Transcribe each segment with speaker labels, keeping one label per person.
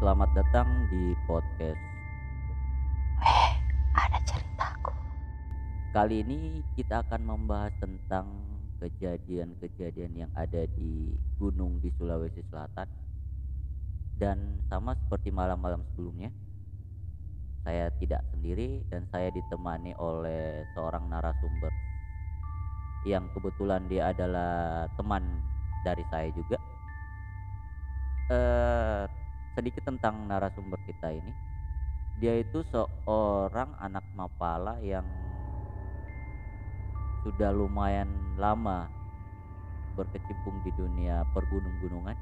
Speaker 1: selamat datang di podcast.
Speaker 2: Eh, ada ceritaku.
Speaker 1: Kali ini kita akan membahas tentang kejadian-kejadian yang ada di gunung di Sulawesi Selatan. Dan sama seperti malam-malam sebelumnya, saya tidak sendiri dan saya ditemani oleh seorang narasumber yang kebetulan dia adalah teman dari saya juga. Eh, sedikit tentang narasumber kita ini. Dia itu seorang anak mapala yang sudah lumayan lama berkecimpung di dunia pergunung-gunungan.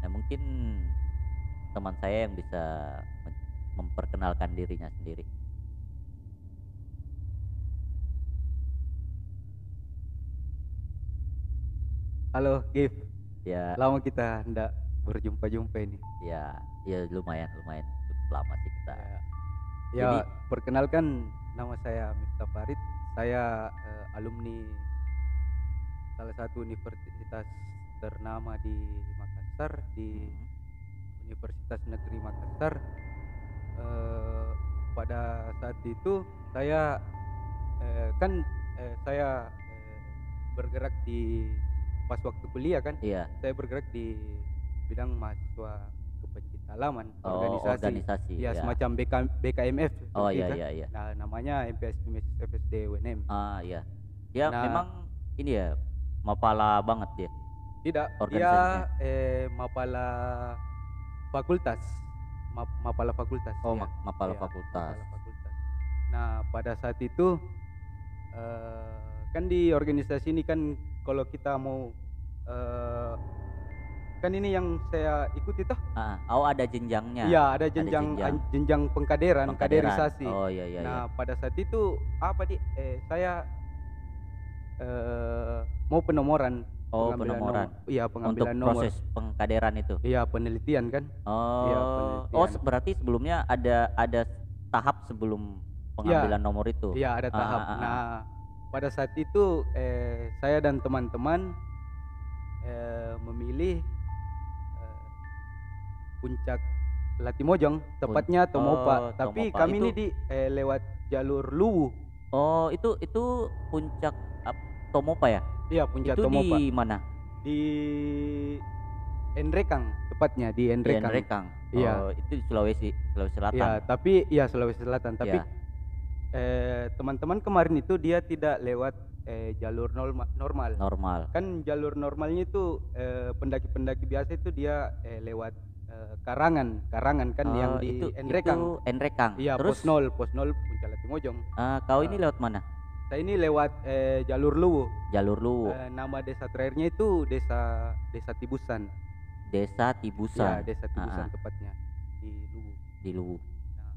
Speaker 1: Nah, mungkin teman saya yang bisa men- memperkenalkan dirinya sendiri.
Speaker 3: Halo, Gif.
Speaker 1: Ya,
Speaker 3: Lama kita ndak berjumpa-jumpa ini.
Speaker 1: ya, ya lumayan, lumayan cukup lama sih kita.
Speaker 3: Ya,
Speaker 1: Nah, Jadi-
Speaker 3: perkenalkan nama saya Miftah Farid. Saya eh, alumni salah satu universitas ternama di Makassar di
Speaker 1: Hmm.
Speaker 3: Universitas Negeri Makassar. Eh, pada saat itu saya eh, kan eh, saya eh, bergerak di pas waktu kuliah kan
Speaker 1: Iya,
Speaker 3: saya bergerak di bidang mahasiswa kepencitalaman
Speaker 1: oh,
Speaker 3: organisasi,
Speaker 1: organisasi.
Speaker 3: ya, semacam BK, BKMF
Speaker 1: Oh
Speaker 3: seperti
Speaker 1: iya
Speaker 3: itu.
Speaker 1: iya iya.
Speaker 3: nah namanya MPS FSD UNM
Speaker 1: Ah iya. Dia
Speaker 3: Nah-
Speaker 1: memang ini ya mapala banget dia.
Speaker 3: tidak dia
Speaker 1: Organisasinya.
Speaker 3: eh, mapala fakultas Ma- mapala fakultas
Speaker 1: Oh,
Speaker 3: ya,
Speaker 1: ma- mapala
Speaker 3: Iya,
Speaker 1: fakultas.
Speaker 3: mapala fakultas nah pada saat itu eh, kan di organisasi ini kan kalau kita mau eh, kan ini yang saya ikuti toh
Speaker 1: Ah, oh ada jenjangnya.
Speaker 3: Iya, ada jenjang
Speaker 1: jenjang.
Speaker 3: an- jenjang pengkaderan,
Speaker 1: Pengkaderan.
Speaker 3: kaderisasi.
Speaker 1: Oh iya iya.
Speaker 3: nah,
Speaker 1: iya.
Speaker 3: pada saat itu apa di eh saya eh mau penomoran.
Speaker 1: Oh,
Speaker 3: pengambilan
Speaker 1: penomoran.
Speaker 3: nomor- Iya,
Speaker 1: Untuk
Speaker 3: pengambilan nomor.
Speaker 1: proses pengkaderan itu.
Speaker 3: Iya, penelitian kan?
Speaker 1: Oh. oh,
Speaker 3: penelitian.
Speaker 1: se- berarti sebelumnya ada ada tahap sebelum pengambilan nomor itu.
Speaker 3: Iya, ada
Speaker 1: Ah,
Speaker 3: tahap.
Speaker 1: ah, ah, ah.
Speaker 3: Nah, pada saat itu eh saya dan teman-teman eh memilih eh, puncak Latimojong, tepatnya
Speaker 1: oh,
Speaker 3: Tomopa. Tapi
Speaker 1: Tomopa.
Speaker 3: kami
Speaker 1: Itu-
Speaker 3: ini di eh, lewat jalur Luwu.
Speaker 1: Oh, itu itu puncak ap- Tomopa ya?
Speaker 3: Iya, puncak
Speaker 1: itu
Speaker 3: Tomopa.
Speaker 1: di mana?
Speaker 3: di Enrekang tepatnya di
Speaker 1: Di
Speaker 3: Enrekang.
Speaker 1: Nrekang.
Speaker 3: Iya.
Speaker 1: Oh, itu di Sulawesi, Sulawesi Selatan.
Speaker 3: Ya, tapi ya Sulawesi Selatan, tapi
Speaker 1: Iya.
Speaker 3: eh, teman-teman kemarin itu dia tidak lewat eh, jalur norma- normal.
Speaker 1: Normal.
Speaker 3: Kan jalur normalnya itu eh, pendaki-pendaki biasa itu dia eh, lewat eh, karangan, karangan kan yang
Speaker 1: Oh,
Speaker 3: di
Speaker 1: itu,
Speaker 3: Enrekang.
Speaker 1: Itu Nrekang.
Speaker 3: Iya, Eh.
Speaker 1: Terus
Speaker 3: pos nol, pos nol Puncak Latimojong.
Speaker 1: ah, kau ini lewat mana?
Speaker 3: Saya ini lewat eh, jalur Luwu.
Speaker 1: Jalur Luwu,
Speaker 3: Eh, nama desa terakhirnya itu desa desa Tibusan.
Speaker 1: Desa
Speaker 3: Iya,
Speaker 1: Tibusan
Speaker 3: desa
Speaker 1: Ah,
Speaker 3: Tibusan
Speaker 1: ah.
Speaker 3: tepatnya di Luwu.
Speaker 1: di Luwu.
Speaker 3: Nah,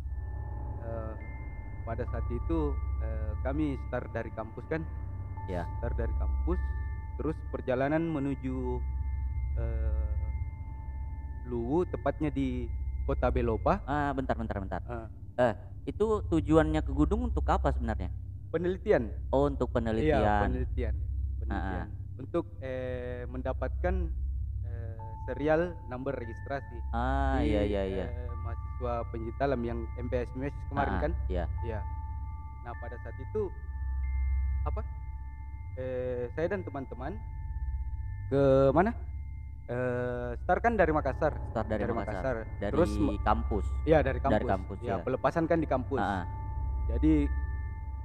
Speaker 3: eh, pada saat itu eh, kami start dari kampus kan?
Speaker 1: Ya.
Speaker 3: Start dari kampus, terus perjalanan menuju eh, Luwu, tepatnya di Kota Belopa.
Speaker 1: Ah, bentar bentar bentar.
Speaker 3: Ah.
Speaker 1: Eh, itu tujuannya ke gunung untuk apa sebenarnya?
Speaker 3: Penelitian.
Speaker 1: Oh, untuk penelitian.
Speaker 3: Iya, penelitian. Penelitian. Untuk eh, mendapatkan eh, serial number registrasi.
Speaker 1: Ah,
Speaker 3: di,
Speaker 1: iya iya iya.
Speaker 3: eh, mahasiswa pencinta alam yang MPS kemarin
Speaker 1: Ah,
Speaker 3: kan?
Speaker 1: Iya.
Speaker 3: Iya. Nah pada saat itu apa? Eh, saya dan teman-teman ke mana? Eh, start kan dari Makassar.
Speaker 1: Start dari, Makassar. Dari
Speaker 3: Terus me-
Speaker 1: kampus.
Speaker 3: iya dari kampus.
Speaker 1: dari kampus, ya.
Speaker 3: Ya, pelepasan kan di kampus.
Speaker 1: Ah, ah.
Speaker 3: Jadi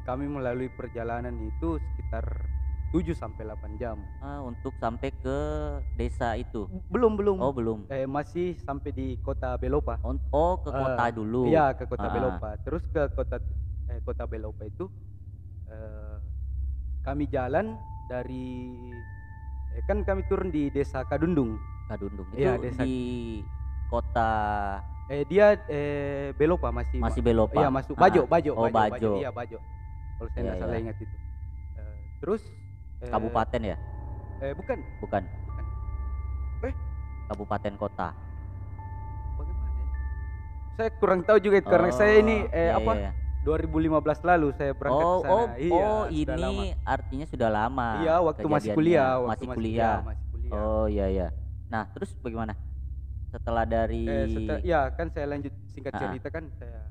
Speaker 3: kami melalui perjalanan itu sekitar 7 sampai 8 jam.
Speaker 1: Ah, untuk sampai ke desa itu.
Speaker 3: Belum belum.
Speaker 1: Oh, belum.
Speaker 3: Eh, masih sampai di kota Belopa.
Speaker 1: On- Oh, ke kota
Speaker 3: Eh,
Speaker 1: dulu.
Speaker 3: Iya ke kota
Speaker 1: Ah.
Speaker 3: Belopa. Terus ke kota eh, kota Belopa itu eh, kami jalan dari eh, kan kami turun di desa Kadundung.
Speaker 1: Kadundung. Itu
Speaker 3: Iya, desa-
Speaker 1: di kota
Speaker 3: Eh dia eh, Belopa masih
Speaker 1: masih Belopa.
Speaker 3: Iya masuk
Speaker 1: Ah,
Speaker 3: Bajo, Bajo,
Speaker 1: Oh, Bajo.
Speaker 3: Iya Bajo. Kalau saya
Speaker 1: Iya,
Speaker 3: tidak salah
Speaker 1: iya.
Speaker 3: ingat itu. Eh, terus eh,
Speaker 1: Kabupaten ya?
Speaker 3: Eh bukan.
Speaker 1: Bukan.
Speaker 3: Eh?
Speaker 1: Kabupaten kota.
Speaker 3: Bagaimana? ya? Saya kurang tahu juga itu, karena saya ini
Speaker 1: Oh,
Speaker 3: eh
Speaker 1: iya,
Speaker 3: apa
Speaker 1: iya.
Speaker 3: 2015 lalu saya berangkat
Speaker 1: oh,
Speaker 3: ke sana.
Speaker 1: Oh,
Speaker 3: iya,
Speaker 1: oh,
Speaker 3: sudah
Speaker 1: ini
Speaker 3: lama.
Speaker 1: artinya sudah lama.
Speaker 3: Iya, waktu masih
Speaker 1: Ah, kejadiannya.
Speaker 3: kuliah, waktu
Speaker 1: masih kuliah.
Speaker 3: masih kuliah.
Speaker 1: Oh, iya ya. Nah, terus bagaimana? setelah dari
Speaker 3: Eh, setel- ya kan saya lanjut singkat
Speaker 1: Ah.
Speaker 3: cerita kan saya eh,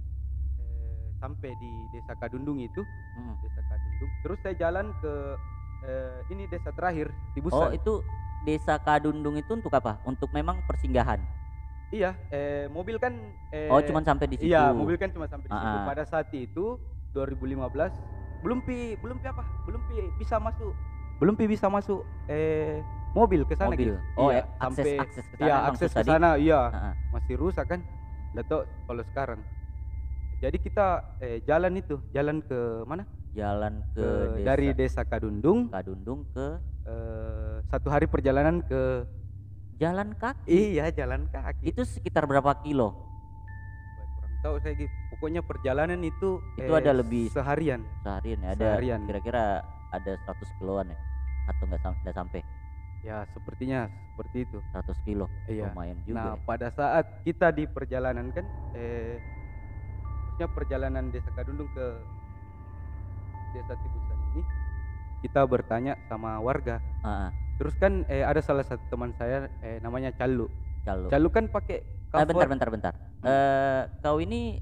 Speaker 3: sampai di desa Kadundung itu
Speaker 1: Mm.
Speaker 3: desa Kadundung terus saya jalan ke eh, ini desa terakhir di
Speaker 1: Oh,
Speaker 3: Busan
Speaker 1: itu desa Kadundung itu untuk apa? Untuk memang persinggahan.
Speaker 3: iya eh, mobil kan eh,
Speaker 1: oh, cuman sampai di situ.
Speaker 3: iya mobil kan cuma sampai di situ
Speaker 1: Ah, ah.
Speaker 3: pada saat itu 2015 belum pi belum pi apa belum pi bisa masuk belum pi bisa masuk eh mobil ke sana
Speaker 1: Mobil.
Speaker 3: gitu.
Speaker 1: Oh,
Speaker 3: Iya,
Speaker 1: ya, akses
Speaker 3: sampai
Speaker 1: akses ke sana
Speaker 3: Iya
Speaker 1: emang
Speaker 3: akses
Speaker 1: susah
Speaker 3: ke
Speaker 1: di-
Speaker 3: sana iya
Speaker 1: Heeh.
Speaker 3: masih rusak kan Dato kalau sekarang jadi kita eh, jalan itu jalan ke mana
Speaker 1: Jalan ke,
Speaker 3: Ke-
Speaker 1: desa
Speaker 3: Eh,
Speaker 1: Nah.
Speaker 3: dari desa Kadundung
Speaker 1: Kadundung ke
Speaker 3: eh, satu hari perjalanan ke
Speaker 1: jalan kaki.
Speaker 3: iya jalan kaki
Speaker 1: Itu sekitar berapa kilo
Speaker 3: kurang tahu saya gitu. pokoknya perjalanan itu eh,
Speaker 1: Itu ada lebih-
Speaker 3: seharian
Speaker 1: seharian? ya? Ada
Speaker 3: Seharian.
Speaker 1: kira-kira ada 100 kiloan ya? Atau enggak sampai enggak sampai
Speaker 3: ya sepertinya seperti itu
Speaker 1: 100 kilo.
Speaker 3: Iya.
Speaker 1: Lumayan
Speaker 3: nah
Speaker 1: juga. ya.
Speaker 3: pada saat kita di perjalanan kan eh maksudnya perjalanan desa Kadundung ke desa Tibusan ini kita bertanya sama warga
Speaker 1: Heeh,
Speaker 3: Terus kan eh, ada salah satu teman saya eh, namanya Calu.
Speaker 1: Calo.
Speaker 3: Calu kan pakai
Speaker 1: Eh,
Speaker 3: cover.
Speaker 1: bentar bentar bentar.
Speaker 3: Hmm.
Speaker 1: Eh, kau ini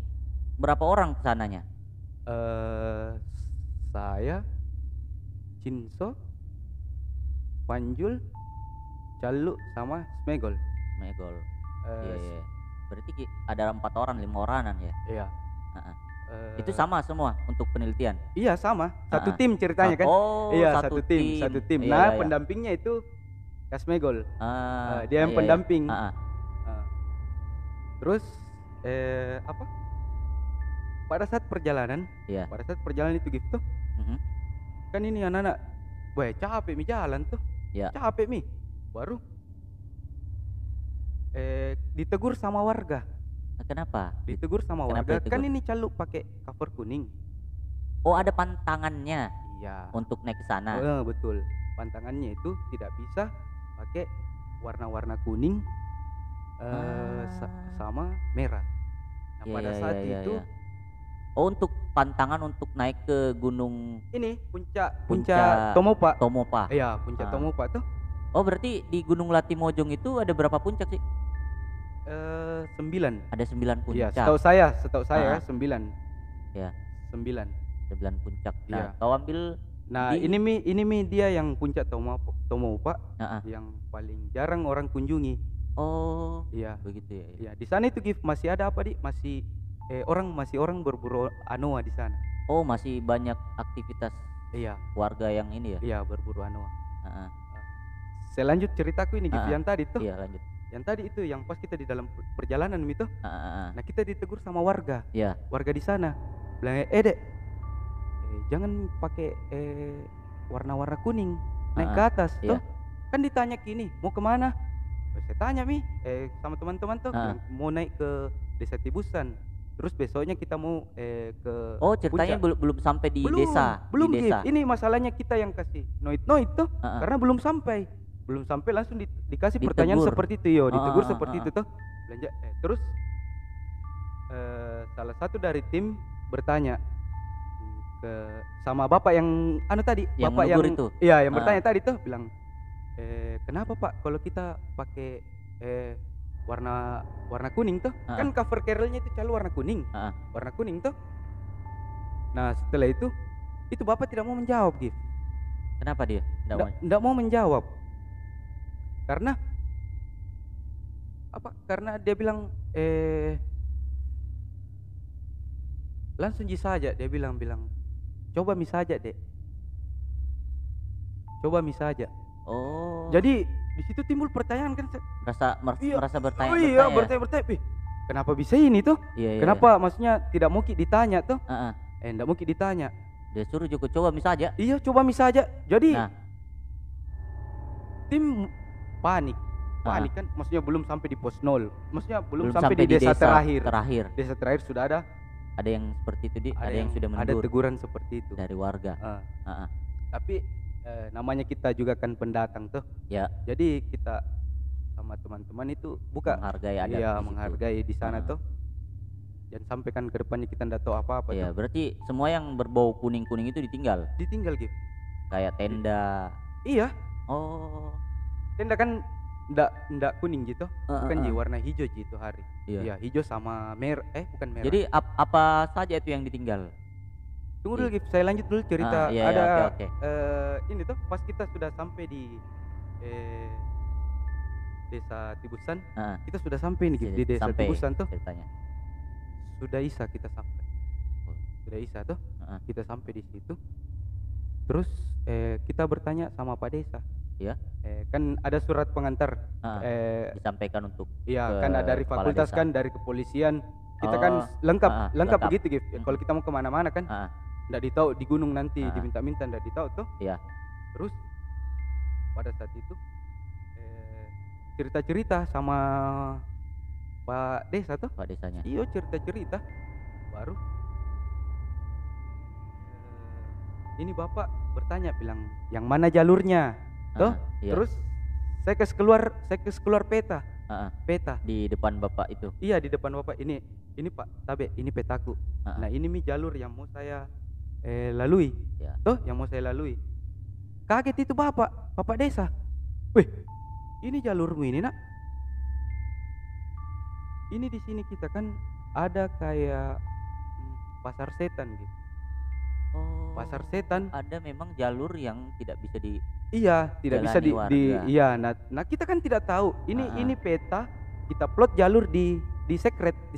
Speaker 1: berapa orang kesananya?
Speaker 3: Eh, saya Cinso Panjul Calu sama Smegol.
Speaker 1: Megol.
Speaker 3: Eh,
Speaker 1: Iya, iya. Berarti ki- ada empat orang, lima oranan ya.
Speaker 3: Iya.
Speaker 1: Ah, ah.
Speaker 3: Eh,
Speaker 1: Itu sama semua untuk penelitian.
Speaker 3: Iya sama.
Speaker 1: Ah,
Speaker 3: Satu
Speaker 1: ah.
Speaker 3: tim ceritanya kan.
Speaker 1: Oh,
Speaker 3: iya satu, tim, satu tim.
Speaker 1: Iya,
Speaker 3: nah
Speaker 1: iya, iya.
Speaker 3: pendampingnya itu Kasmegol.
Speaker 1: Ah,
Speaker 3: Eh, dia
Speaker 1: iya,
Speaker 3: yang
Speaker 1: iya.
Speaker 3: pendamping.
Speaker 1: Ah, ah.
Speaker 3: Ah. Terus eh apa? Pada saat perjalanan,
Speaker 1: Iya.
Speaker 3: pada saat perjalanan itu gitu,
Speaker 1: Mhm.
Speaker 3: kan ini anak-anak, wah capek mi jalan tuh,
Speaker 1: Iya.
Speaker 3: capek mi, baru eh ditegur sama warga,
Speaker 1: Nah, Kenapa?
Speaker 3: ditegur sama
Speaker 1: Kenapa
Speaker 3: warga, kan
Speaker 1: ditegur?
Speaker 3: ini caluk pakai cover kuning,
Speaker 1: Oh, ada pantangannya
Speaker 3: iya,
Speaker 1: untuk naik ke sana.
Speaker 3: Eh, betul, pantangannya itu tidak bisa pakai warna-warna kuning eh sa-
Speaker 1: Ah.
Speaker 3: sama merah. Nah,
Speaker 1: Iya,
Speaker 3: pada
Speaker 1: iya,
Speaker 3: saat
Speaker 1: iya, iya,
Speaker 3: itu
Speaker 1: iya. Oh, untuk pantangan untuk naik ke Gunung
Speaker 3: ini puncak
Speaker 1: Puncak
Speaker 3: puncak Tomopa.
Speaker 1: Tomopa.
Speaker 3: Iya, puncak
Speaker 1: Ah.
Speaker 3: Tomopa tuh
Speaker 1: Oh, berarti di Gunung Latimojong itu ada berapa puncak sih?
Speaker 3: eh sembilan.
Speaker 1: Ada sembilan
Speaker 3: Iya,
Speaker 1: puncak.
Speaker 3: setahu saya, setahu saya ya,
Speaker 1: Ah.
Speaker 3: sembilan.
Speaker 1: Iya.
Speaker 3: Sembilan.
Speaker 1: Sembilan puncak. Nah,
Speaker 3: Iya.
Speaker 1: kau ambil
Speaker 3: Nah,
Speaker 1: Di-
Speaker 3: ini mi ini mi dia yang puncak Tomopa, Tomopa
Speaker 1: Ah, ah.
Speaker 3: yang paling jarang orang kunjungi.
Speaker 1: oh,
Speaker 3: Iya.
Speaker 1: begitu ya.
Speaker 3: Iya, di sana itu Gif masih ada apa, Di? Masih eh, orang masih orang berburu anoa di sana.
Speaker 1: Oh, masih banyak aktivitas
Speaker 3: Iya,
Speaker 1: warga yang ini ya.
Speaker 3: iya berburu anoa.
Speaker 1: Heeh.
Speaker 3: Saya lanjut ceritaku ini Gif
Speaker 1: Ah, ah.
Speaker 3: yang tadi tuh.
Speaker 1: Iya, lanjut.
Speaker 3: Yang tadi itu yang pas kita di dalam per- perjalanan itu.
Speaker 1: Heeh, heeh.
Speaker 3: Nah, kita ditegur sama warga.
Speaker 1: Iya.
Speaker 3: warga di sana bilang eh dek eh, jangan pakai eh, warna-warna kuning
Speaker 1: Ah,
Speaker 3: naik ke atas
Speaker 1: iya.
Speaker 3: toh kan ditanya gini mau kemana Terus saya tanya mi eh, sama teman-teman tuh
Speaker 1: Ah.
Speaker 3: bilang, mau naik ke desa Tibusan terus besoknya kita mau eh, ke
Speaker 1: Oh, ceritanya
Speaker 3: Puncak.
Speaker 1: belum belum sampai di
Speaker 3: belum
Speaker 1: desa,
Speaker 3: belum
Speaker 1: di
Speaker 3: Gif.
Speaker 1: desa.
Speaker 3: ini masalahnya kita yang kasih noit noit tuh
Speaker 1: Ah, ah.
Speaker 3: karena belum sampai belum sampai langsung di- dikasih pertanyaan
Speaker 1: Ditegur.
Speaker 3: seperti itu yo
Speaker 1: Ah,
Speaker 3: ditegur
Speaker 1: ah, ah,
Speaker 3: seperti
Speaker 1: ah,
Speaker 3: itu tuh belanja eh, terus eh, salah satu dari tim bertanya mm, ke sama bapak yang anu tadi
Speaker 1: Yang
Speaker 3: bapak yang
Speaker 1: menegur itu?
Speaker 3: iya yang
Speaker 1: Ah.
Speaker 3: bertanya tadi tuh bilang eh, kenapa pak kalau kita pakai eh, warna warna kuning tuh
Speaker 1: Ah,
Speaker 3: kan cover carolnya itu selalu warna kuning
Speaker 1: Ah, ah.
Speaker 3: warna kuning tuh nah setelah itu itu bapak tidak mau menjawab gitu
Speaker 1: Kenapa dia? Nggak mau-
Speaker 3: tidak mau menjawab karena apa karena dia bilang eh langsung ji saja dia bilang bilang coba mi saja dek coba mi saja
Speaker 1: Oh.
Speaker 3: jadi di situ timbul pertanyaan kan saya,
Speaker 1: merasa mer-
Speaker 3: Iya.
Speaker 1: merasa bertanya,
Speaker 3: oh iya
Speaker 1: bertanya.
Speaker 3: bertanya bertanya "Ih, kenapa bisa ini tuh
Speaker 1: Iya, iya,
Speaker 3: kenapa maksudnya tidak mau ki ditanya tuh
Speaker 1: iya. Ah, ah.
Speaker 3: eh tidak mau ki ditanya
Speaker 1: Dia suruh juga coba bisa aja.
Speaker 3: iya coba mi saja jadi
Speaker 1: Nah,
Speaker 3: tim panik
Speaker 1: Ah.
Speaker 3: panik kan maksudnya belum sampai di pos nol maksudnya belum,
Speaker 1: belum,
Speaker 3: sampai, di desa, terakhir
Speaker 1: terakhir.
Speaker 3: desa terakhir sudah ada
Speaker 1: Ada yang seperti itu, Di. Ada, yang, sudah
Speaker 3: ada
Speaker 1: menegur
Speaker 3: teguran seperti itu
Speaker 1: dari warga.
Speaker 3: Ah.
Speaker 1: Ah, ah.
Speaker 3: tapi eh, namanya kita juga kan pendatang tuh
Speaker 1: Ya.
Speaker 3: jadi kita sama teman-teman itu buka
Speaker 1: Menghargai adat
Speaker 3: iya
Speaker 1: di situ.
Speaker 3: menghargai di sana
Speaker 1: Ah.
Speaker 3: tuh dan sampaikan ke depannya kita ndak tahu apa-apa
Speaker 1: Iya,
Speaker 3: tuh
Speaker 1: berarti semua yang berbau kuning-kuning itu ditinggal,
Speaker 3: ditinggal gitu
Speaker 1: kayak tenda.
Speaker 3: iya
Speaker 1: Oh.
Speaker 3: tenda kan ndak ndak kuning gitu
Speaker 1: Eh, eh,
Speaker 3: bukan ji
Speaker 1: eh.
Speaker 3: warna hijau ji itu hari
Speaker 1: Iya.
Speaker 3: iya hijau sama merah eh bukan merah
Speaker 1: Jadi ap- apa saja itu yang ditinggal?
Speaker 3: tunggu dulu Gif, saya lanjut dulu
Speaker 1: Ah,
Speaker 3: cerita
Speaker 1: iya, iya,
Speaker 3: ada
Speaker 1: oke, oke.
Speaker 3: eh, ini tuh pas kita sudah sampai di eh, desa Tibusan
Speaker 1: Ah.
Speaker 3: kita sudah sampai nih Gif,
Speaker 1: Jadi
Speaker 3: di desa
Speaker 1: sampai
Speaker 3: Tibusan tuh
Speaker 1: ceritanya.
Speaker 3: sudah isa kita sampai sudah isa tuh
Speaker 1: Heeh.
Speaker 3: kita sampai di situ terus eh, kita bertanya sama Pak Desa
Speaker 1: Iya.
Speaker 3: Eh, kan ada surat pengantar
Speaker 1: Ah,
Speaker 3: eh,
Speaker 1: disampaikan untuk
Speaker 3: Iya,
Speaker 1: ke
Speaker 3: kan ada dari
Speaker 1: kepala
Speaker 3: fakultas
Speaker 1: desa.
Speaker 3: kan dari kepolisian. Kita kan
Speaker 1: Oh,
Speaker 3: s- lengkap,
Speaker 1: ah, ah,
Speaker 3: lengkap
Speaker 1: lengkap.
Speaker 3: begitu, Gif. Ya,
Speaker 1: Mm.
Speaker 3: Kalau kita mau kemana-mana kan,
Speaker 1: Ah, ah.
Speaker 3: ndak ditahu di gunung
Speaker 1: Ah,
Speaker 3: nanti
Speaker 1: ah.
Speaker 3: diminta-minta ndak ditahu tuh.
Speaker 1: Iya.
Speaker 3: Terus pada saat itu eh, cerita-cerita sama Pak Desa tuh,
Speaker 1: Pak desanya.
Speaker 3: iyo cerita-cerita baru. eh, Ini bapak bertanya bilang yang mana jalurnya? Tuh,
Speaker 1: Ah, iya.
Speaker 3: Terus saya kes keluar, saya kes keluar peta,
Speaker 1: Ah, ah.
Speaker 3: peta.
Speaker 1: di depan bapak itu.
Speaker 3: Iya di depan bapak ini ini Pak Tabe ini petaku.
Speaker 1: Ah,
Speaker 3: Nah ini mi jalur yang mau saya eh, lalui.
Speaker 1: Ya.
Speaker 3: Tuh yang mau saya lalui. Kaget itu bapak bapak desa. Wih ini jalurmu ini nak. Ini di sini kita kan ada kayak mm, pasar setan gitu.
Speaker 1: Oh,
Speaker 3: Pasar setan.
Speaker 1: Ada memang jalur yang tidak bisa di
Speaker 3: Iya tidak bisa di,
Speaker 1: Jalani
Speaker 3: di
Speaker 1: warga.
Speaker 3: iya. Nah, nah kita kan tidak tahu ini
Speaker 1: Ah, ah.
Speaker 3: ini peta kita plot jalur di di sekret di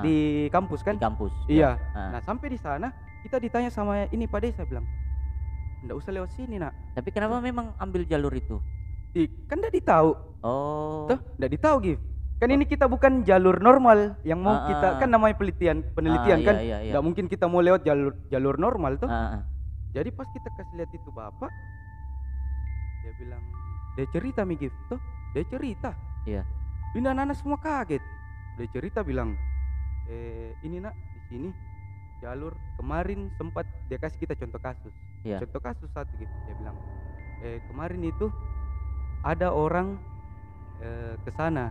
Speaker 1: Ah, ah.
Speaker 3: di kampus
Speaker 1: di
Speaker 3: kan.
Speaker 1: kampus.
Speaker 3: Iya.
Speaker 1: Ah,
Speaker 3: Nah sampai di sana kita ditanya sama ini Pak Desa bilang, ndak usah lewat sini nak.
Speaker 1: Tapi kenapa memang ambil jalur itu?
Speaker 3: Ih, kan ndak ditahu,
Speaker 1: Oh.
Speaker 3: tuh ndak ditahu Gif. Kan ini kita bukan jalur normal yang mau
Speaker 1: Ah,
Speaker 3: kita
Speaker 1: ah.
Speaker 3: kan namanya penelitian penelitian
Speaker 1: ah,
Speaker 3: kan,
Speaker 1: Iya, iya, iya.
Speaker 3: ndak mungkin kita mau lewat jalur jalur normal tuh.
Speaker 1: Ah, ah.
Speaker 3: Jadi pas kita kasih lihat itu bapak, dia bilang dia cerita mi Gif tuh, dia cerita.
Speaker 1: Iya.
Speaker 3: Ini anak-anak semua kaget. Dia cerita bilang, eh ini nak di sini jalur kemarin sempat dia kasih kita contoh kasus.
Speaker 1: Iya.
Speaker 3: Contoh kasus satu gitu dia bilang, eh kemarin itu ada orang eh, ke sana,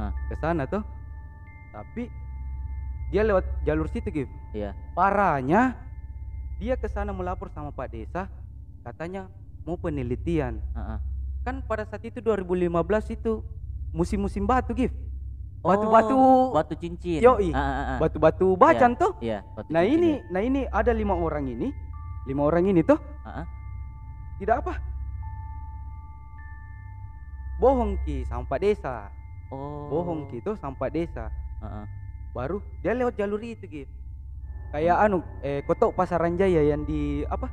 Speaker 1: Ah.
Speaker 3: ke sana tuh, tapi dia lewat jalur situ gitu.
Speaker 1: Iya.
Speaker 3: Parahnya dia ke sana melapor sama Pak Desa, katanya mau penelitian.
Speaker 1: Ah, ah.
Speaker 3: Kan pada saat itu 2015 itu musim-musim batu Gif. Batu-batu
Speaker 1: Oh, batu cincin.
Speaker 3: Yoi.
Speaker 1: Ah, ah, ah.
Speaker 3: batu-batu bacan tuh.
Speaker 1: Iya, batu
Speaker 3: Nah
Speaker 1: cincin,
Speaker 3: ini, nah ini ada lima orang ini, lima orang ini tuh
Speaker 1: iya. Ah, ah.
Speaker 3: tidak apa. Bohong ki sampah desa,
Speaker 1: Oh.
Speaker 3: bohong ki tuh sampah desa.
Speaker 1: Ah, ah.
Speaker 3: Baru dia lewat jalur itu gitu. Kayak anu, eh, kotok Pasaran Jaya yang di apa?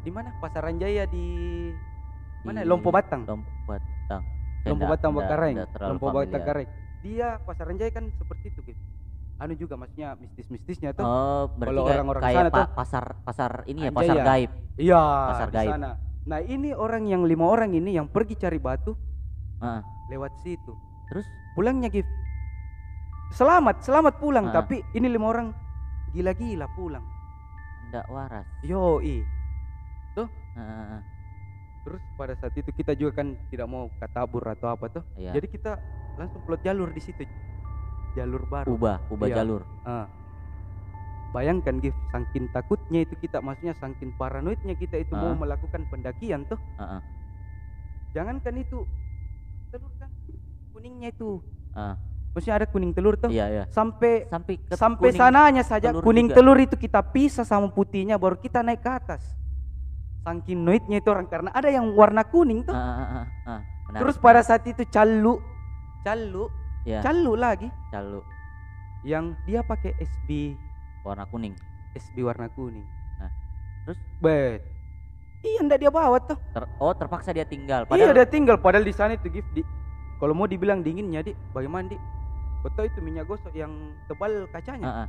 Speaker 3: Di mana? Pasaran Jaya di mana?
Speaker 1: Di
Speaker 3: Lompo Batang.
Speaker 1: Lompo Batang. Saya
Speaker 3: Lompo
Speaker 1: ndak-
Speaker 3: Batang
Speaker 1: ndak-
Speaker 3: Bakareng.
Speaker 1: ndak terlalu
Speaker 3: Lompo Batang
Speaker 1: familiar.
Speaker 3: Bakareng. Dia Pasaran Jaya kan seperti itu gitu. Anu juga maksudnya mistis-mistisnya tuh.
Speaker 1: Oh, berarti
Speaker 3: Kalau
Speaker 1: kayak,
Speaker 3: orang-orang
Speaker 1: kayak
Speaker 3: sana
Speaker 1: pa-
Speaker 3: tuh-
Speaker 1: pasar pasar ini ya,
Speaker 3: Anjay
Speaker 1: pasar
Speaker 3: ya.
Speaker 1: gaib.
Speaker 3: Iya,
Speaker 1: Pasar
Speaker 3: di
Speaker 1: gaib.
Speaker 3: sana. Nah, ini orang yang lima orang ini yang pergi cari batu
Speaker 1: Ah,
Speaker 3: lewat situ.
Speaker 1: terus
Speaker 3: Pulangnya Gif. Selamat, selamat pulang,
Speaker 1: Ah.
Speaker 3: tapi ini lima orang gila-gila pulang.
Speaker 1: ndak waras.
Speaker 3: Yoi.
Speaker 1: Ah, ah, ah.
Speaker 3: Terus pada saat itu kita juga kan tidak mau katabur atau apa tuh.
Speaker 1: Iya.
Speaker 3: Jadi kita langsung plot jalur di situ. Jalur baru.
Speaker 1: ubah, ubah
Speaker 3: Iya.
Speaker 1: jalur.
Speaker 3: Ah. Bayangkan Gif, saking takutnya itu kita, maksudnya saking paranoidnya kita itu mau
Speaker 1: Ah.
Speaker 3: melakukan pendakian tuh.
Speaker 1: Ah, ah.
Speaker 3: Jangankan itu telur kan kuningnya itu.
Speaker 1: Ah.
Speaker 3: Maksudnya ada kuning telur tuh.
Speaker 1: Iya, iya.
Speaker 3: Sampai
Speaker 1: Sampai ke
Speaker 3: sampai
Speaker 1: kuning.
Speaker 3: sananya saja
Speaker 1: telur
Speaker 3: kuning
Speaker 1: juga.
Speaker 3: telur itu kita pisah sama putihnya baru kita naik ke atas. Saking noitnya itu orang karena ada yang warna kuning tuh.
Speaker 1: Ah, ah, ah, ah. Menarik,
Speaker 3: Terus pada saat itu calu calu
Speaker 1: ya,
Speaker 3: calu lagi
Speaker 1: calu
Speaker 3: yang dia pakai SB
Speaker 1: warna kuning.
Speaker 3: SB warna kuning.
Speaker 1: Nah, terus?
Speaker 3: bet. Iya ndak dia bawa tuh.
Speaker 1: Ter- oh, terpaksa dia tinggal.
Speaker 3: iya
Speaker 1: Padahal
Speaker 3: udah tinggal padahal di sana itu gift di. Kalau mau dibilang dinginnya di bagaimana di? Betul itu minyak gosok yang tebal kacanya
Speaker 1: Ah, ah.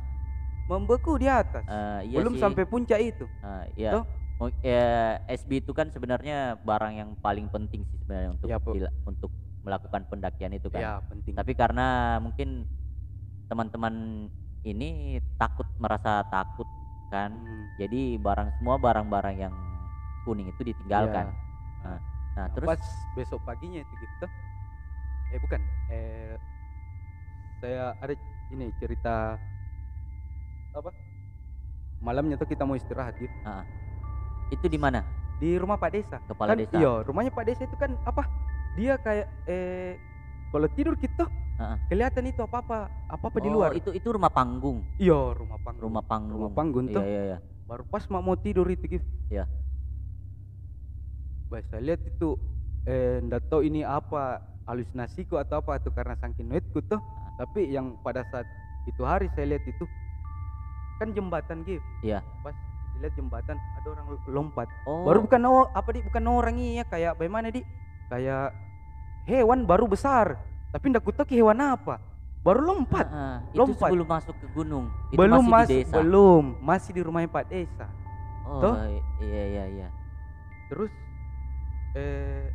Speaker 3: membeku di atas.
Speaker 1: Eh, iya
Speaker 3: Belum
Speaker 1: sih.
Speaker 3: sampai puncak itu.
Speaker 1: Ah, iya.
Speaker 3: Tuh.
Speaker 1: Mo- eh, SB itu kan sebenarnya barang yang paling penting sih sebenarnya untuk
Speaker 3: Iya, Bu.
Speaker 1: dila- untuk melakukan pendakian itu kan.
Speaker 3: Ya penting.
Speaker 1: Tapi karena mungkin teman-teman ini takut merasa takut kan.
Speaker 3: Hmm.
Speaker 1: Jadi barang semua barang-barang yang kuning itu ditinggalkan. Nah, nah,
Speaker 3: Nah,
Speaker 1: terus
Speaker 3: pas besok paginya itu gitu. Eh bukan. Eh saya ada ini cerita apa? Malamnya tuh kita mau istirahat gitu
Speaker 1: itu di mana?
Speaker 3: di rumah Pak Desa.
Speaker 1: Kepala
Speaker 3: kan,
Speaker 1: desa.
Speaker 3: Iya, rumahnya Pak Desa itu kan apa? Dia kayak eh kalau tidur gitu,
Speaker 1: Heeh.
Speaker 3: kelihatan itu apa-apa, apa-apa di
Speaker 1: Oh,
Speaker 3: luar.
Speaker 1: itu itu rumah panggung,
Speaker 3: Iya, rumah panggung.
Speaker 1: rumah panggung.
Speaker 3: Rumah panggung
Speaker 1: Iya
Speaker 3: tuh.
Speaker 1: iya iya.
Speaker 3: Baru pas mak mau tidur itu gitu.
Speaker 1: Iya.
Speaker 3: Bah, saya lihat itu eh ndak tahu ini apa halusinasiku atau apa tuh karena saking noitku tuh.
Speaker 1: Ah.
Speaker 3: Tapi yang pada saat itu hari saya lihat itu kan jembatan gitu.
Speaker 1: Iya.
Speaker 3: Pas dilihat jembatan ada orang lompat.
Speaker 1: Oh.
Speaker 3: Baru bukan oh, apa di bukan orang iya kayak bagaimana di kayak hewan baru besar tapi ndak kuteki hewan apa. Baru lompat.
Speaker 1: Heeh, ah, itu
Speaker 3: lompat.
Speaker 1: sebelum masuk ke gunung. Ah, Itu masih
Speaker 3: belum
Speaker 1: di
Speaker 3: masih
Speaker 1: desa.
Speaker 3: belum masih di rumahnya Pak Desa.
Speaker 1: Oh,
Speaker 3: Tuh.
Speaker 1: i- iya iya iya.
Speaker 3: terus eh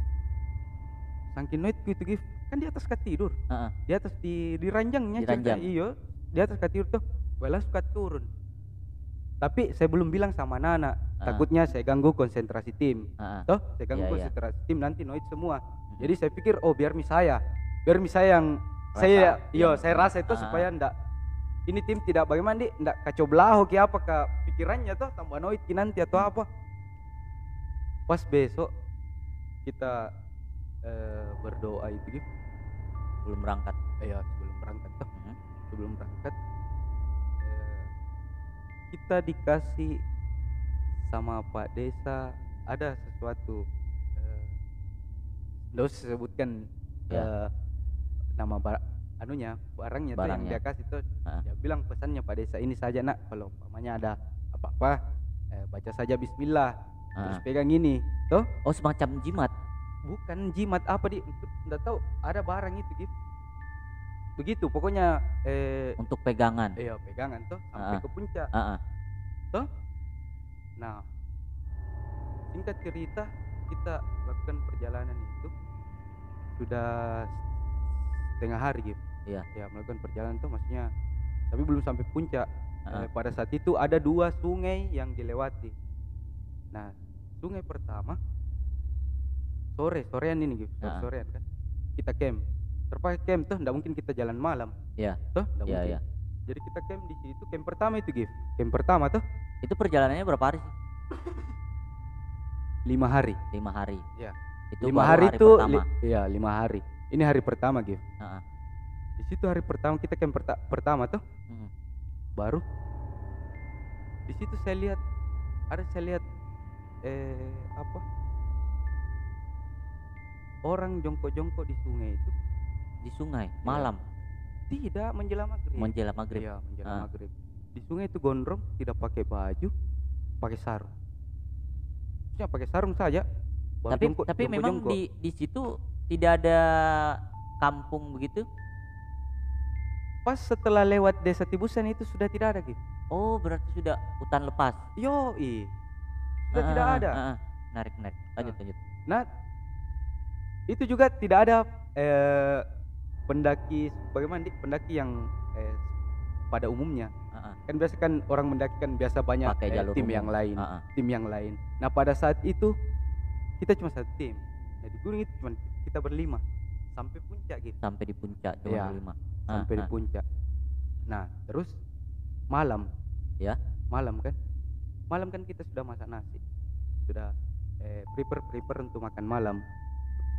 Speaker 3: saking noit gitu Gif. kan di atas kat tidur
Speaker 1: Heeh.
Speaker 3: di atas di di ranjangnya
Speaker 1: Di
Speaker 3: cerita,
Speaker 1: ranjang.
Speaker 3: iyo di atas kat tidur tuh balas suka turun tapi saya belum bilang sama anak
Speaker 1: Ah.
Speaker 3: takutnya saya ganggu konsentrasi tim
Speaker 1: Heeh.
Speaker 3: toh saya
Speaker 1: Iya,
Speaker 3: ganggu
Speaker 1: iya.
Speaker 3: konsentrasi tim nanti noit semua
Speaker 1: Mm-mm.
Speaker 3: jadi saya pikir oh biar mi saya biar mi saya yang
Speaker 1: Rasa,
Speaker 3: saya
Speaker 1: iya.
Speaker 3: iyo saya rasa itu
Speaker 1: Ah.
Speaker 3: supaya ndak ini tim tidak bagaimana di ndak kacau belaho ki apa ke pikirannya toh tambah noit ki nanti atau apa pas besok kita eh, berdoa itu gitu
Speaker 1: Belum berangkat.
Speaker 3: ya sebelum berangkat toh
Speaker 1: Mhm.
Speaker 3: sebelum berangkat eh, kita dikasih sama Pak Desa ada sesuatu eh, nggak usah sebutkan
Speaker 1: Iya.
Speaker 3: eh, nama bar anunya barangnya, tuh yang
Speaker 1: Barangnya.
Speaker 3: dia kasih tuh
Speaker 1: Ah.
Speaker 3: dia bilang pesannya Pak Desa ini saja nak kalau umpamanya ada apa-apa eh, baca saja Bismillah terus
Speaker 1: Heeh.
Speaker 3: pegang ini tuh
Speaker 1: Ah. Oh, semacam jimat.
Speaker 3: bukan jimat apa di nggak tahu ada barang itu gitu begitu pokoknya eh
Speaker 1: untuk pegangan.
Speaker 3: iya pegangan tuh sampai
Speaker 1: Ah.
Speaker 3: ke puncak
Speaker 1: Heeh.
Speaker 3: nah singkat cerita kita lakukan perjalanan itu sudah setengah hari gitu
Speaker 1: Iya.
Speaker 3: ya melakukan perjalanan tuh maksudnya tapi belum sampai puncak
Speaker 1: Ah.
Speaker 3: Eh, pada saat itu ada dua sungai yang dilewati nah sungai pertama sore sorean ini gitu
Speaker 1: Ah.
Speaker 3: sorean kan kita camp terpakai camp tuh ndak mungkin kita jalan malam
Speaker 1: Iya.
Speaker 3: tuh ndak
Speaker 1: Iya,
Speaker 3: mungkin
Speaker 1: iya.
Speaker 3: jadi kita camp di situ camp pertama itu gitu camp pertama tuh
Speaker 1: Itu perjalanannya berapa hari sih?
Speaker 3: lima hari
Speaker 1: Lima hari.
Speaker 3: Iya.
Speaker 1: Itu
Speaker 3: lima
Speaker 1: baru
Speaker 3: hari,
Speaker 1: hari
Speaker 3: itu
Speaker 1: pertama.
Speaker 3: li- iya lima hari ini hari pertama gitu
Speaker 1: Heeh.
Speaker 3: di situ hari pertama kita camp perta- pertama tuh
Speaker 1: Mhm.
Speaker 3: baru di situ saya lihat ada saya lihat eh apa orang jongkok-jongkok di sungai itu
Speaker 1: Di sungai malam
Speaker 3: tidak menjelang maghrib
Speaker 1: menjelang maghrib.
Speaker 3: Iya, menjelang
Speaker 1: Ah.
Speaker 3: maghrib di sungai itu gondrong tidak pakai baju pakai sarung ya pakai sarung saja baru
Speaker 1: tapi
Speaker 3: jongkok-
Speaker 1: tapi memang
Speaker 3: jongkok-jongkok.
Speaker 1: di di situ tidak ada kampung begitu.
Speaker 3: pas setelah lewat desa Tibusan itu sudah tidak ada gitu
Speaker 1: Oh, berarti sudah hutan lepas.
Speaker 3: yoi sudah
Speaker 1: Heeh,
Speaker 3: tidak
Speaker 1: heeh,
Speaker 3: ada
Speaker 1: heeh. Menarik, menarik. Lanjut, lanjut.
Speaker 3: Nah, itu juga tidak ada eh, pendaki bagaimana Dik? pendaki yang eh, pada umumnya.
Speaker 1: Heeh.
Speaker 3: Kan biasa kan orang mendaki kan biasa banyak
Speaker 1: Pakai
Speaker 3: eh,
Speaker 1: jalur
Speaker 3: tim
Speaker 1: umum. Ah,
Speaker 3: yang lain,
Speaker 1: Heeh.
Speaker 3: tim yang lain. Nah, pada saat itu kita cuma satu tim. Nah, di gunung itu cuma kita berlima sampai puncak gitu,
Speaker 1: Sampai di puncak cuma
Speaker 3: Iya.
Speaker 1: berlima. Heeh,
Speaker 3: sampai di
Speaker 1: heeh.
Speaker 3: puncak. Nah, terus malam
Speaker 1: Ya.
Speaker 3: Malam kan? Malam kan kita sudah masak nasi. Sudah eh, prepare prepare untuk makan malam.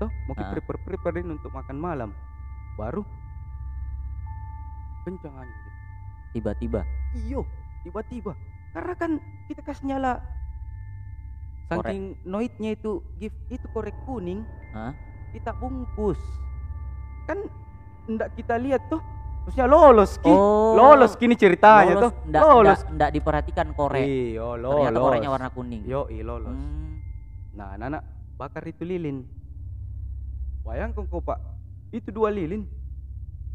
Speaker 3: Toh mau
Speaker 1: Ah.
Speaker 3: kita prepare preparein untuk makan malam. Baru kencang angin.
Speaker 1: tiba-tiba.
Speaker 3: Iyo, tiba-tiba. Karena kan kita kasih nyala
Speaker 1: Korek.
Speaker 3: saking noitnya itu gift itu korek kuning
Speaker 1: Hah?
Speaker 3: kita bungkus kan ndak kita lihat tuh terusnya lolos ki
Speaker 1: Oh.
Speaker 3: lolos kini ceritanya
Speaker 1: lolos,
Speaker 3: tuh
Speaker 1: ndak-
Speaker 3: lolos
Speaker 1: ndak- ndak diperhatikan korek.
Speaker 3: iyo lolos
Speaker 1: Ternyata koreknya warna kuning.
Speaker 3: yo lolos
Speaker 1: Hmm.
Speaker 3: Nah, anak-anak bakar itu lilin. Bayangkan kau pak, itu dua lilin.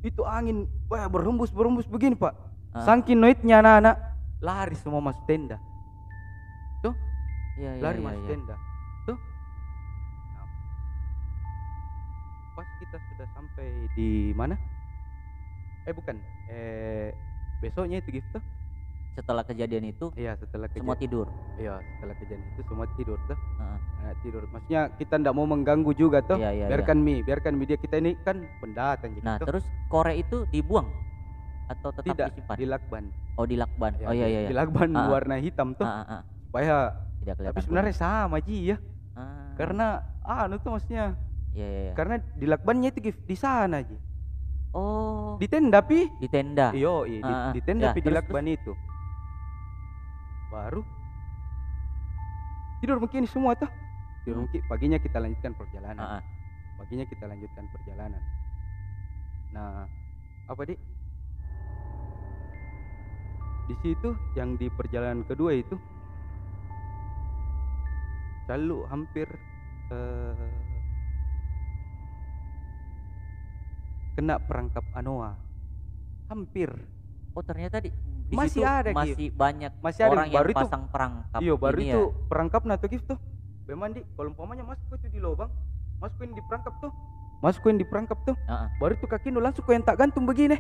Speaker 3: Itu angin, wah berhembus berhembus begini pak.
Speaker 1: Ah.
Speaker 3: Saking noitnya anak-anak lari semua masuk tenda,
Speaker 1: Iya, iya,
Speaker 3: lari
Speaker 1: iya,
Speaker 3: masuk
Speaker 1: iya.
Speaker 3: tenda. Tuh. Nah, pas kita sudah sampai di mana? Eh bukan, eh besoknya itu gitu.
Speaker 1: Setelah kejadian itu
Speaker 3: Iya setelah kejadian.
Speaker 1: semua tidur.
Speaker 3: Iya setelah kejadian itu semua tidur tuh.
Speaker 1: Heeh.
Speaker 3: Anak tidur. Maksudnya kita ndak mau mengganggu juga tuh.
Speaker 1: Iya, iya,
Speaker 3: biarkan mi, biarkan mi dia kita ini kan pendatang
Speaker 1: Nah,
Speaker 3: gitu.
Speaker 1: terus korek itu dibuang atau tetap
Speaker 3: Tidak,
Speaker 1: disimpan?
Speaker 3: dilakban.
Speaker 1: Oh, dilakban.
Speaker 3: Ya,
Speaker 1: oh iya
Speaker 3: di-
Speaker 1: iya iya.
Speaker 3: Dilakban
Speaker 1: Ah.
Speaker 3: warna hitam tuh
Speaker 1: Ah, ah, ah.
Speaker 3: supaya
Speaker 1: tidak kelihatan
Speaker 3: Tapi sebenarnya sama Ji ya.
Speaker 1: gunung. Ah,
Speaker 3: Karena kan ah anu tuh maksudnya
Speaker 1: iya, iya, iya.
Speaker 3: karena di lakbannya itu Gif, di sana Ji.
Speaker 1: oh
Speaker 3: Di tenda pi.
Speaker 1: di tenda
Speaker 3: Iyo, iya, di,
Speaker 1: Ah, ah.
Speaker 3: di
Speaker 1: Ya,
Speaker 3: tenda pi di
Speaker 1: terus,
Speaker 3: lakban itu. Baru tidur mungkin semua tuh. Tidur
Speaker 1: Hmm.
Speaker 3: mungkin paginya kita lanjutkan perjalanan.
Speaker 1: Ah, ah.
Speaker 3: Paginya kita lanjutkan perjalanan. Nah, apa Dik? Di situ yang di perjalanan kedua itu selalu hampir eh, kena perangkap anoa. Hampir.
Speaker 1: oh ternyata di, di situ
Speaker 3: Masih ada, Ki.
Speaker 1: masih banyak
Speaker 3: Masih ada
Speaker 1: orang yang
Speaker 3: baru itu
Speaker 1: pasang perangkap
Speaker 3: Iya, baru
Speaker 1: ini ya.
Speaker 3: itu perangkap nah tuh gift tuh. Memang di kalau umpamanya masuk itu di lubang, masukin di perangkap tuh. Masukin di perangkap tuh.
Speaker 1: Ah, ah.
Speaker 3: Baru tuh kaki nu langsung kau yang tak gantung begini.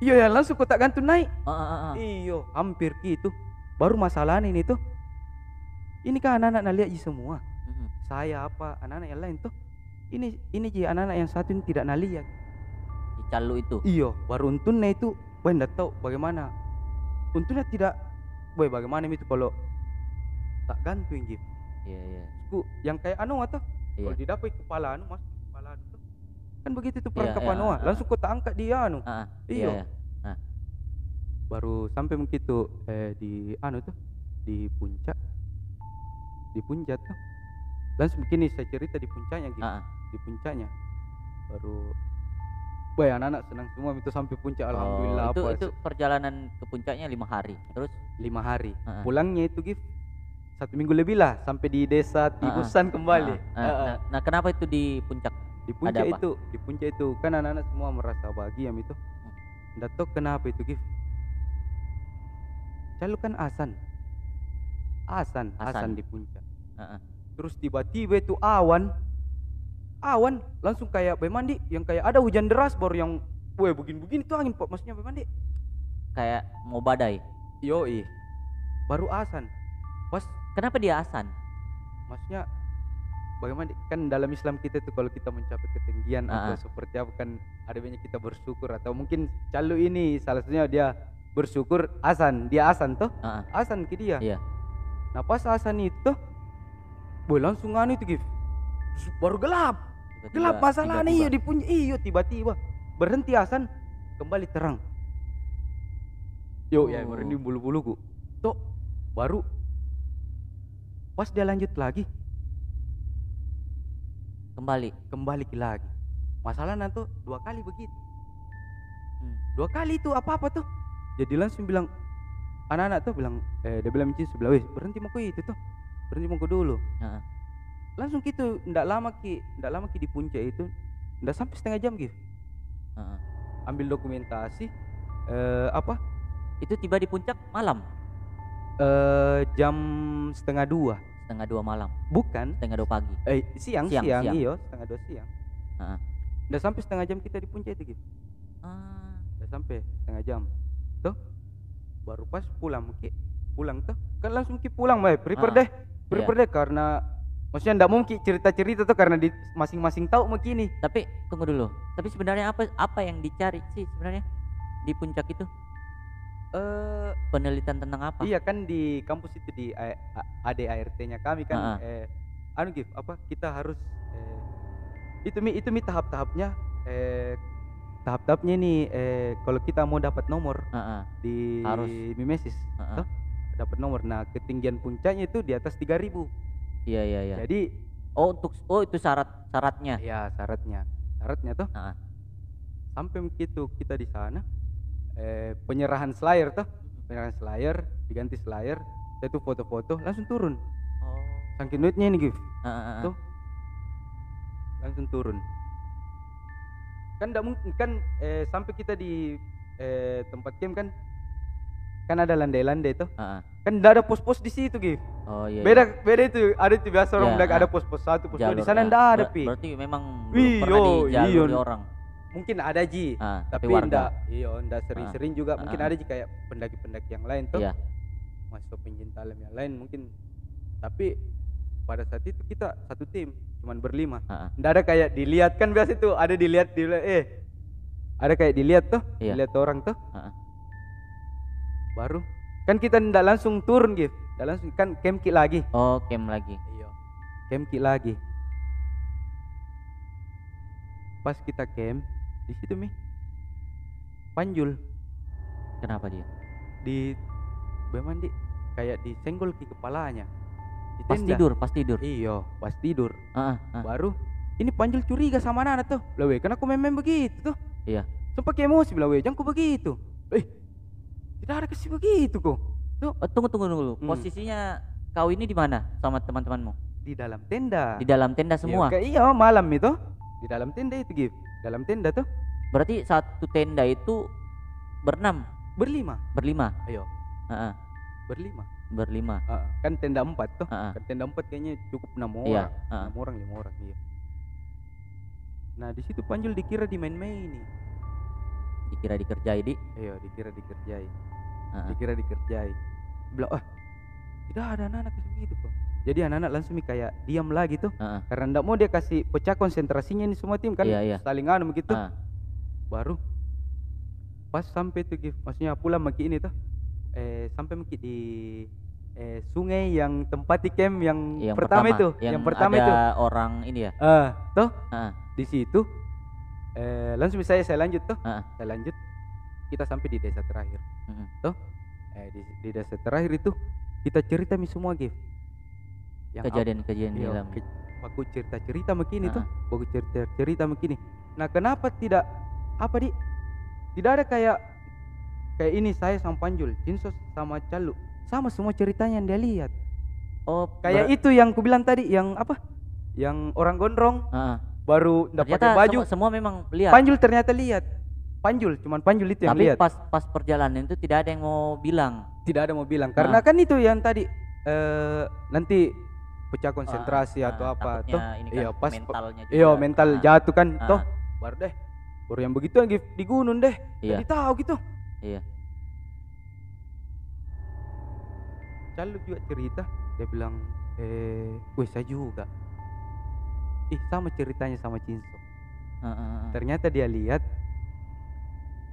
Speaker 3: Iya, yang langsung kau tak gantung naik.
Speaker 1: ya. Ah, ah, ah, ah.
Speaker 3: Iyo, hampir gitu. Baru masalah ini tuh. Ini kan anak-anak nah lihat je semua.
Speaker 1: Mm-mm.
Speaker 3: Saya apa anak-anak yang lain tuh. Ini ini je anak-anak yang satu ini tidak nak lihat.
Speaker 1: di calu itu
Speaker 3: Iyo, baru untunnya itu boy ndak tahu bagaimana. Untunnya tidak boy bagaimana itu kalau tak gantung gitu.
Speaker 1: iya iya
Speaker 3: Ku yang kayak anu atau
Speaker 1: Iya.
Speaker 3: kalau didapat kepala anu masuk kepala anu tuh. Kan begitu tuh
Speaker 1: Iya,
Speaker 3: perangkap
Speaker 1: iya,
Speaker 3: anu ah.
Speaker 1: ah, ah.
Speaker 3: langsung kau tak angkat dia anu.
Speaker 1: Ah, ah.
Speaker 3: Iyo.
Speaker 1: iya, iya.
Speaker 3: baru sampai mungkin tuh eh, di anu tuh di puncak di puncak tuh langsung begini saya cerita di puncaknya gitu
Speaker 1: Ah, ah.
Speaker 3: di puncaknya baru Wah, anak-anak senang semua itu sampai puncak
Speaker 1: oh,
Speaker 3: alhamdulillah
Speaker 1: itu
Speaker 3: apa
Speaker 1: itu perjalanan ke puncaknya lima hari terus
Speaker 3: lima hari
Speaker 1: Ah, ah.
Speaker 3: pulangnya itu gift satu minggu lebih lah sampai di desa Tibusan kembali
Speaker 1: Ah, ah.
Speaker 3: Ah, ah.
Speaker 1: Nah, nah kenapa itu di puncak
Speaker 3: di puncak
Speaker 1: apa?
Speaker 3: itu di puncak itu kan anak-anak semua merasa bahagia itu ndak tahu kenapa itu gift calukan asan asan
Speaker 1: Asan.
Speaker 3: asan, di puncak
Speaker 1: Ah, ah.
Speaker 3: terus tiba-tiba itu awan awan langsung kayak Boy mandi yang kayak ada hujan deras baru yang weh begini-begini tuh angin Pak. maksudnya Boy mandi
Speaker 1: kayak mau badai
Speaker 3: yoi baru asan pas
Speaker 1: kenapa dia asan
Speaker 3: maksudnya bagaimana di- kan dalam Islam kita itu kalau kita mencapai ketinggian atau
Speaker 1: Ah.
Speaker 3: seperti apa kan ada banyak kita bersyukur atau mungkin calo ini salah satunya dia bersyukur asan dia asan tuh
Speaker 1: Ah, ah.
Speaker 3: asan ke dia
Speaker 1: Iya.
Speaker 3: nah pas asan itu boy langsung anu itu gif Terus baru gelap
Speaker 1: Tiba-tiba-
Speaker 3: gelap iya, masalah nih iyo
Speaker 1: tiba-tiba.
Speaker 3: dipunya iyo tiba-tiba berhenti asan kembali terang yo ya
Speaker 1: Oh.
Speaker 3: berhenti bulu buluku tuh baru pas dia lanjut lagi
Speaker 1: kembali
Speaker 3: kembali ke lagi masalahnya tuh dua kali begitu
Speaker 1: Hmm.
Speaker 3: dua kali itu apa apa tuh jadi langsung bilang anak-anak tuh bilang eh dia bilang Michi sebelah weh berhenti mau itu tuh berhenti mau dulu
Speaker 1: Heeh.
Speaker 3: langsung gitu ndak lama ki ndak lama ki di puncak itu ndak sampai setengah jam gitu
Speaker 1: Heeh.
Speaker 3: ambil dokumentasi eh apa
Speaker 1: itu tiba di puncak malam
Speaker 3: eh jam setengah dua
Speaker 1: setengah dua malam
Speaker 3: bukan
Speaker 1: setengah dua pagi
Speaker 3: eh siang
Speaker 1: Siang,
Speaker 3: siang,
Speaker 1: siang.
Speaker 3: iyo setengah dua siang
Speaker 1: Heeh.
Speaker 3: ndak sampai setengah jam kita di puncak itu gitu
Speaker 1: ah,
Speaker 3: Udah sampai setengah jam. Tuh. Baru pas pulang ki pulang tuh kan langsung ki pulang bae prepare
Speaker 1: Ah,
Speaker 3: deh. Prepare deh karena maksudnya ndak mungkin cerita-cerita tuh karena di masing-masing tahu begini.
Speaker 1: tapi tunggu dulu tapi sebenarnya apa apa yang dicari sih sebenarnya di puncak itu
Speaker 3: Eh
Speaker 1: penelitian tentang apa
Speaker 3: iya kan di kampus itu di A- A- ADART-nya kami
Speaker 1: Ah, ah.
Speaker 3: kan eh anu gif apa kita harus eh, itu mi itu mi tahap-tahapnya eh tahap-tahapnya nih eh kalau kita mau dapat nomor
Speaker 1: Heeh.
Speaker 3: di
Speaker 1: Harus.
Speaker 3: Mimesis
Speaker 1: Heeh.
Speaker 3: tuh, dapat nomor nah ketinggian puncaknya itu di atas 3000
Speaker 1: iya iya iya
Speaker 3: jadi
Speaker 1: oh untuk oh itu syarat syaratnya
Speaker 3: ya syaratnya syaratnya tuh
Speaker 1: Heeh.
Speaker 3: sampai begitu kita di sana eh, penyerahan slayer tuh penyerahan slayer diganti slayer saya tuh foto-foto langsung turun
Speaker 1: oh
Speaker 3: saking duitnya ini Gif
Speaker 1: Heeh, heeh, heeh.
Speaker 3: kan Tuh. langsung turun kan tidak mungkin kan eh, sampai kita di eh, tempat game kan kan ada landai-landai tuh
Speaker 1: Heeh.
Speaker 3: kan tidak ada pos-pos di situ Gif
Speaker 1: oh iya
Speaker 3: beda
Speaker 1: iya.
Speaker 3: beda itu ada itu biasa
Speaker 1: Ya,
Speaker 3: orang bilang ada
Speaker 1: ah.
Speaker 3: pos-pos satu pos dua di
Speaker 1: Jalurnya.
Speaker 3: sana ndak ada
Speaker 1: Ber-
Speaker 3: pi
Speaker 1: berarti memang belum pernah
Speaker 3: Iyo,
Speaker 1: dijaluri
Speaker 3: iyo.
Speaker 1: orang
Speaker 3: mungkin ada ji
Speaker 1: Ah,
Speaker 3: tapi,
Speaker 1: tapi warga
Speaker 3: ndak iya ndak sering-sering juga mungkin
Speaker 1: ah.
Speaker 3: ada ji kayak pendaki-pendaki yang lain tuh
Speaker 1: Iya.
Speaker 3: masuk pencinta alam yang lain mungkin tapi pada saat itu kita satu tim cuman berlima
Speaker 1: Ah, ah.
Speaker 3: ndak ada kayak dilihat kan biasa itu ada dilihat di eh ada kayak dilihat tuh
Speaker 1: Iya.
Speaker 3: dilihat orang tuh
Speaker 1: Ah, ah.
Speaker 3: baru kan kita ndak langsung turun gitu Dah langsung kan kemki lagi.
Speaker 1: Oh, camp lagi.
Speaker 3: Iya. Kemki lagi. Pas kita camp di situ mi panjul
Speaker 1: Kenapa dia?
Speaker 3: di bagaimana di kayak disenggol ke kepalanya. Di
Speaker 1: Pas
Speaker 3: tenda.
Speaker 1: tidur, pas tidur.
Speaker 3: Iyo, pas tidur.
Speaker 1: Ah, ah, ah.
Speaker 3: Baru ini panjul curiga sama anak tuh. Lah weh, kan aku main-main begitu tuh.
Speaker 1: Iya.
Speaker 3: Sempat kayak emosi bilang weh, jangan kau begitu. Eh, tidak ada kasih begitu kok.
Speaker 1: Eh, tunggu tunggu tunggu.
Speaker 3: Hmm.
Speaker 1: Posisinya kau ini di mana sama teman-temanmu?
Speaker 3: Di dalam tenda.
Speaker 1: Di dalam tenda semua.
Speaker 3: Iya, iya malam itu di dalam tenda itu Gif. Dalam tenda tuh
Speaker 1: Berarti satu tenda itu berenam,
Speaker 3: berlima.
Speaker 1: berlima.
Speaker 3: Ayo,
Speaker 1: Ah, ah,
Speaker 3: berlima.
Speaker 1: berlima.
Speaker 3: Ah, kan tenda empat tuh.
Speaker 1: Ah, ah.
Speaker 3: Kan tenda empat kayaknya cukup enam
Speaker 1: Iya,
Speaker 3: orang.
Speaker 1: ah.
Speaker 3: Enam orang lima orang iya. Nah di situ Panjul dikira dimain-maini.
Speaker 1: Dikira dikerjai di.
Speaker 3: Ayo Iya, dikira dikerjai.
Speaker 1: Ah, ah.
Speaker 3: dikira dikerjai bilang ah tidak ada anak-anak kayak begitu kok jadi anak-anak langsung mi kayak diam lagi tuh
Speaker 1: Ah, ah.
Speaker 3: karena ndak mau dia kasih pecah konsentrasinya ini semua tim kan
Speaker 1: Iya, iya.
Speaker 3: saling anu begitu
Speaker 1: Ah.
Speaker 3: baru pas sampai tuh Gif, maksudnya pulang maki ini tuh eh sampai maki di eh sungai yang tempat di camp yang,
Speaker 1: Yang
Speaker 3: pertama, itu yang,
Speaker 1: yang,
Speaker 3: pertama
Speaker 1: ada
Speaker 3: itu
Speaker 1: orang ini ya.
Speaker 3: ah toh
Speaker 1: Ah, ah.
Speaker 3: di situ eh langsung saya saya lanjut tuh
Speaker 1: Ah.
Speaker 3: saya lanjut kita sampai di desa terakhir
Speaker 1: Mm-mm.
Speaker 3: toh eh di, di desa terakhir itu kita cerita mi semua Gif Yang apa-
Speaker 1: Kejadian-kejadian di
Speaker 3: iya,
Speaker 1: dalam.
Speaker 3: ke- baku cerita cerita begini
Speaker 1: Ah.
Speaker 3: tuh baku cerita cerita begini nah kenapa tidak apa di tidak ada kayak kayak ini saya sama Panjul Jinsos sama Calu sama semua ceritanya yang dia lihat
Speaker 1: Oh,
Speaker 3: kayak
Speaker 1: ber-
Speaker 3: itu yang ku bilang tadi yang apa yang orang gondrong
Speaker 1: Ah, ah.
Speaker 3: baru ndak
Speaker 1: Ternyata
Speaker 3: pakai baju
Speaker 1: semu- semua memang lihat.
Speaker 3: Panjul ternyata lihat. Panjul, cuman Panjul itu yang
Speaker 1: Tapi
Speaker 3: lihat.
Speaker 1: pas pas perjalanan itu tidak ada yang mau bilang.
Speaker 3: Tidak ada mau bilang karena kan itu yang tadi eh nanti pecah konsentrasi
Speaker 1: Ah,
Speaker 3: atau
Speaker 1: ah,
Speaker 3: apa
Speaker 1: takutnya
Speaker 3: toh.
Speaker 1: ini kan
Speaker 3: Iya, pas
Speaker 1: mentalnya juga.
Speaker 3: Iya, mental
Speaker 1: Ah,
Speaker 3: jatuh kan
Speaker 1: ah,
Speaker 3: toh. Baru deh. Baru yang begitu yang di gunung deh.
Speaker 1: Iya.
Speaker 3: Jadi tahu gitu.
Speaker 1: Iya.
Speaker 3: Calu juga cerita, dia bilang eh wih saya juga. Ih, sama ceritanya sama Cinso.
Speaker 1: ah, ah, ah.
Speaker 3: Ternyata dia lihat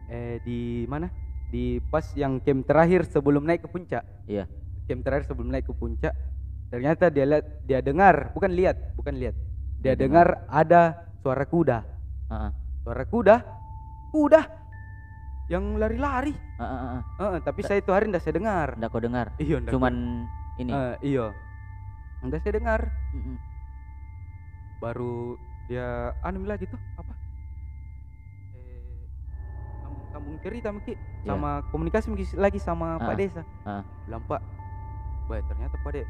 Speaker 3: eh di mana? Di pas yang camp terakhir sebelum naik ke puncak.
Speaker 1: Iya.
Speaker 3: Camp terakhir sebelum naik ke puncak. Ternyata dia lihat, dia dengar, bukan lihat, bukan lihat. Dia
Speaker 1: Dia
Speaker 3: dengar ada suara kuda.
Speaker 1: Ah, ah.
Speaker 3: Suara kuda, kuda yang lari-lari.
Speaker 1: Ah, ah, ah.
Speaker 3: Heeh, tapi saya itu hari ndak saya dengar.
Speaker 1: Nggak kau dengar.
Speaker 3: Iya, ndak
Speaker 1: Cuman ini.
Speaker 3: Eh, iya. Ndak saya dengar.
Speaker 1: Mm-mm.
Speaker 3: baru dia anu lagi tuh apa eh, sambung sambung cerita mungkin
Speaker 1: Iya.
Speaker 3: sama komunikasi mungkin lagi sama Pak
Speaker 1: Ah,
Speaker 3: Desa
Speaker 1: ah.
Speaker 3: bilang Pak Wah, ternyata Pak Dek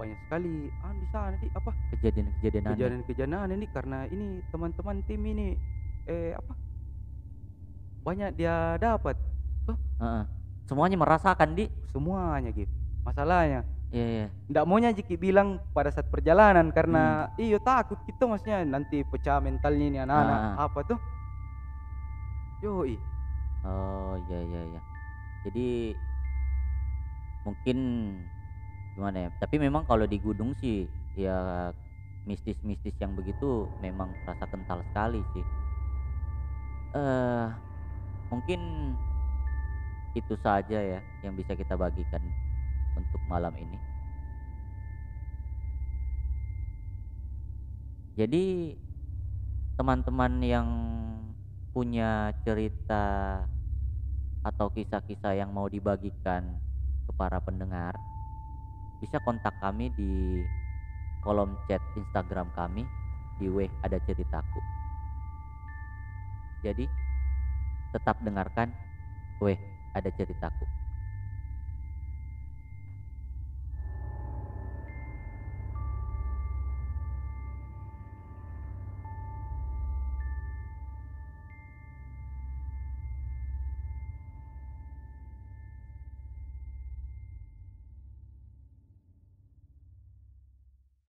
Speaker 3: banyak sekali anu di sana di
Speaker 1: Nah,
Speaker 3: apa
Speaker 1: Kejadian-kejadian aneh.
Speaker 3: kejadian-kejadian aneh nih karena ini teman-teman tim ini eh apa banyak dia dapat
Speaker 1: Ah, ah. Semuanya merasakan di.
Speaker 3: semuanya gitu masalahnya
Speaker 1: Iya, iya.
Speaker 3: ndak maunya Jiki bilang pada saat perjalanan karena iyo takut gitu maksudnya nanti pecah mentalnya ini anak-anak
Speaker 1: Ah.
Speaker 3: apa tuh yoi
Speaker 1: Oh, iya, iya, iya. Jadi mungkin gimana ya? Tapi memang kalau di gunung sih ya mistis-mistis yang begitu memang terasa kental sekali sih. Eh, mungkin itu saja ya yang bisa kita bagikan untuk malam ini. Jadi teman-teman yang punya cerita atau kisah-kisah yang mau dibagikan ke para pendengar bisa kontak kami di kolom chat Instagram kami di weh ada ceritaku. Jadi tetap dengarkan weh ada ceritaku.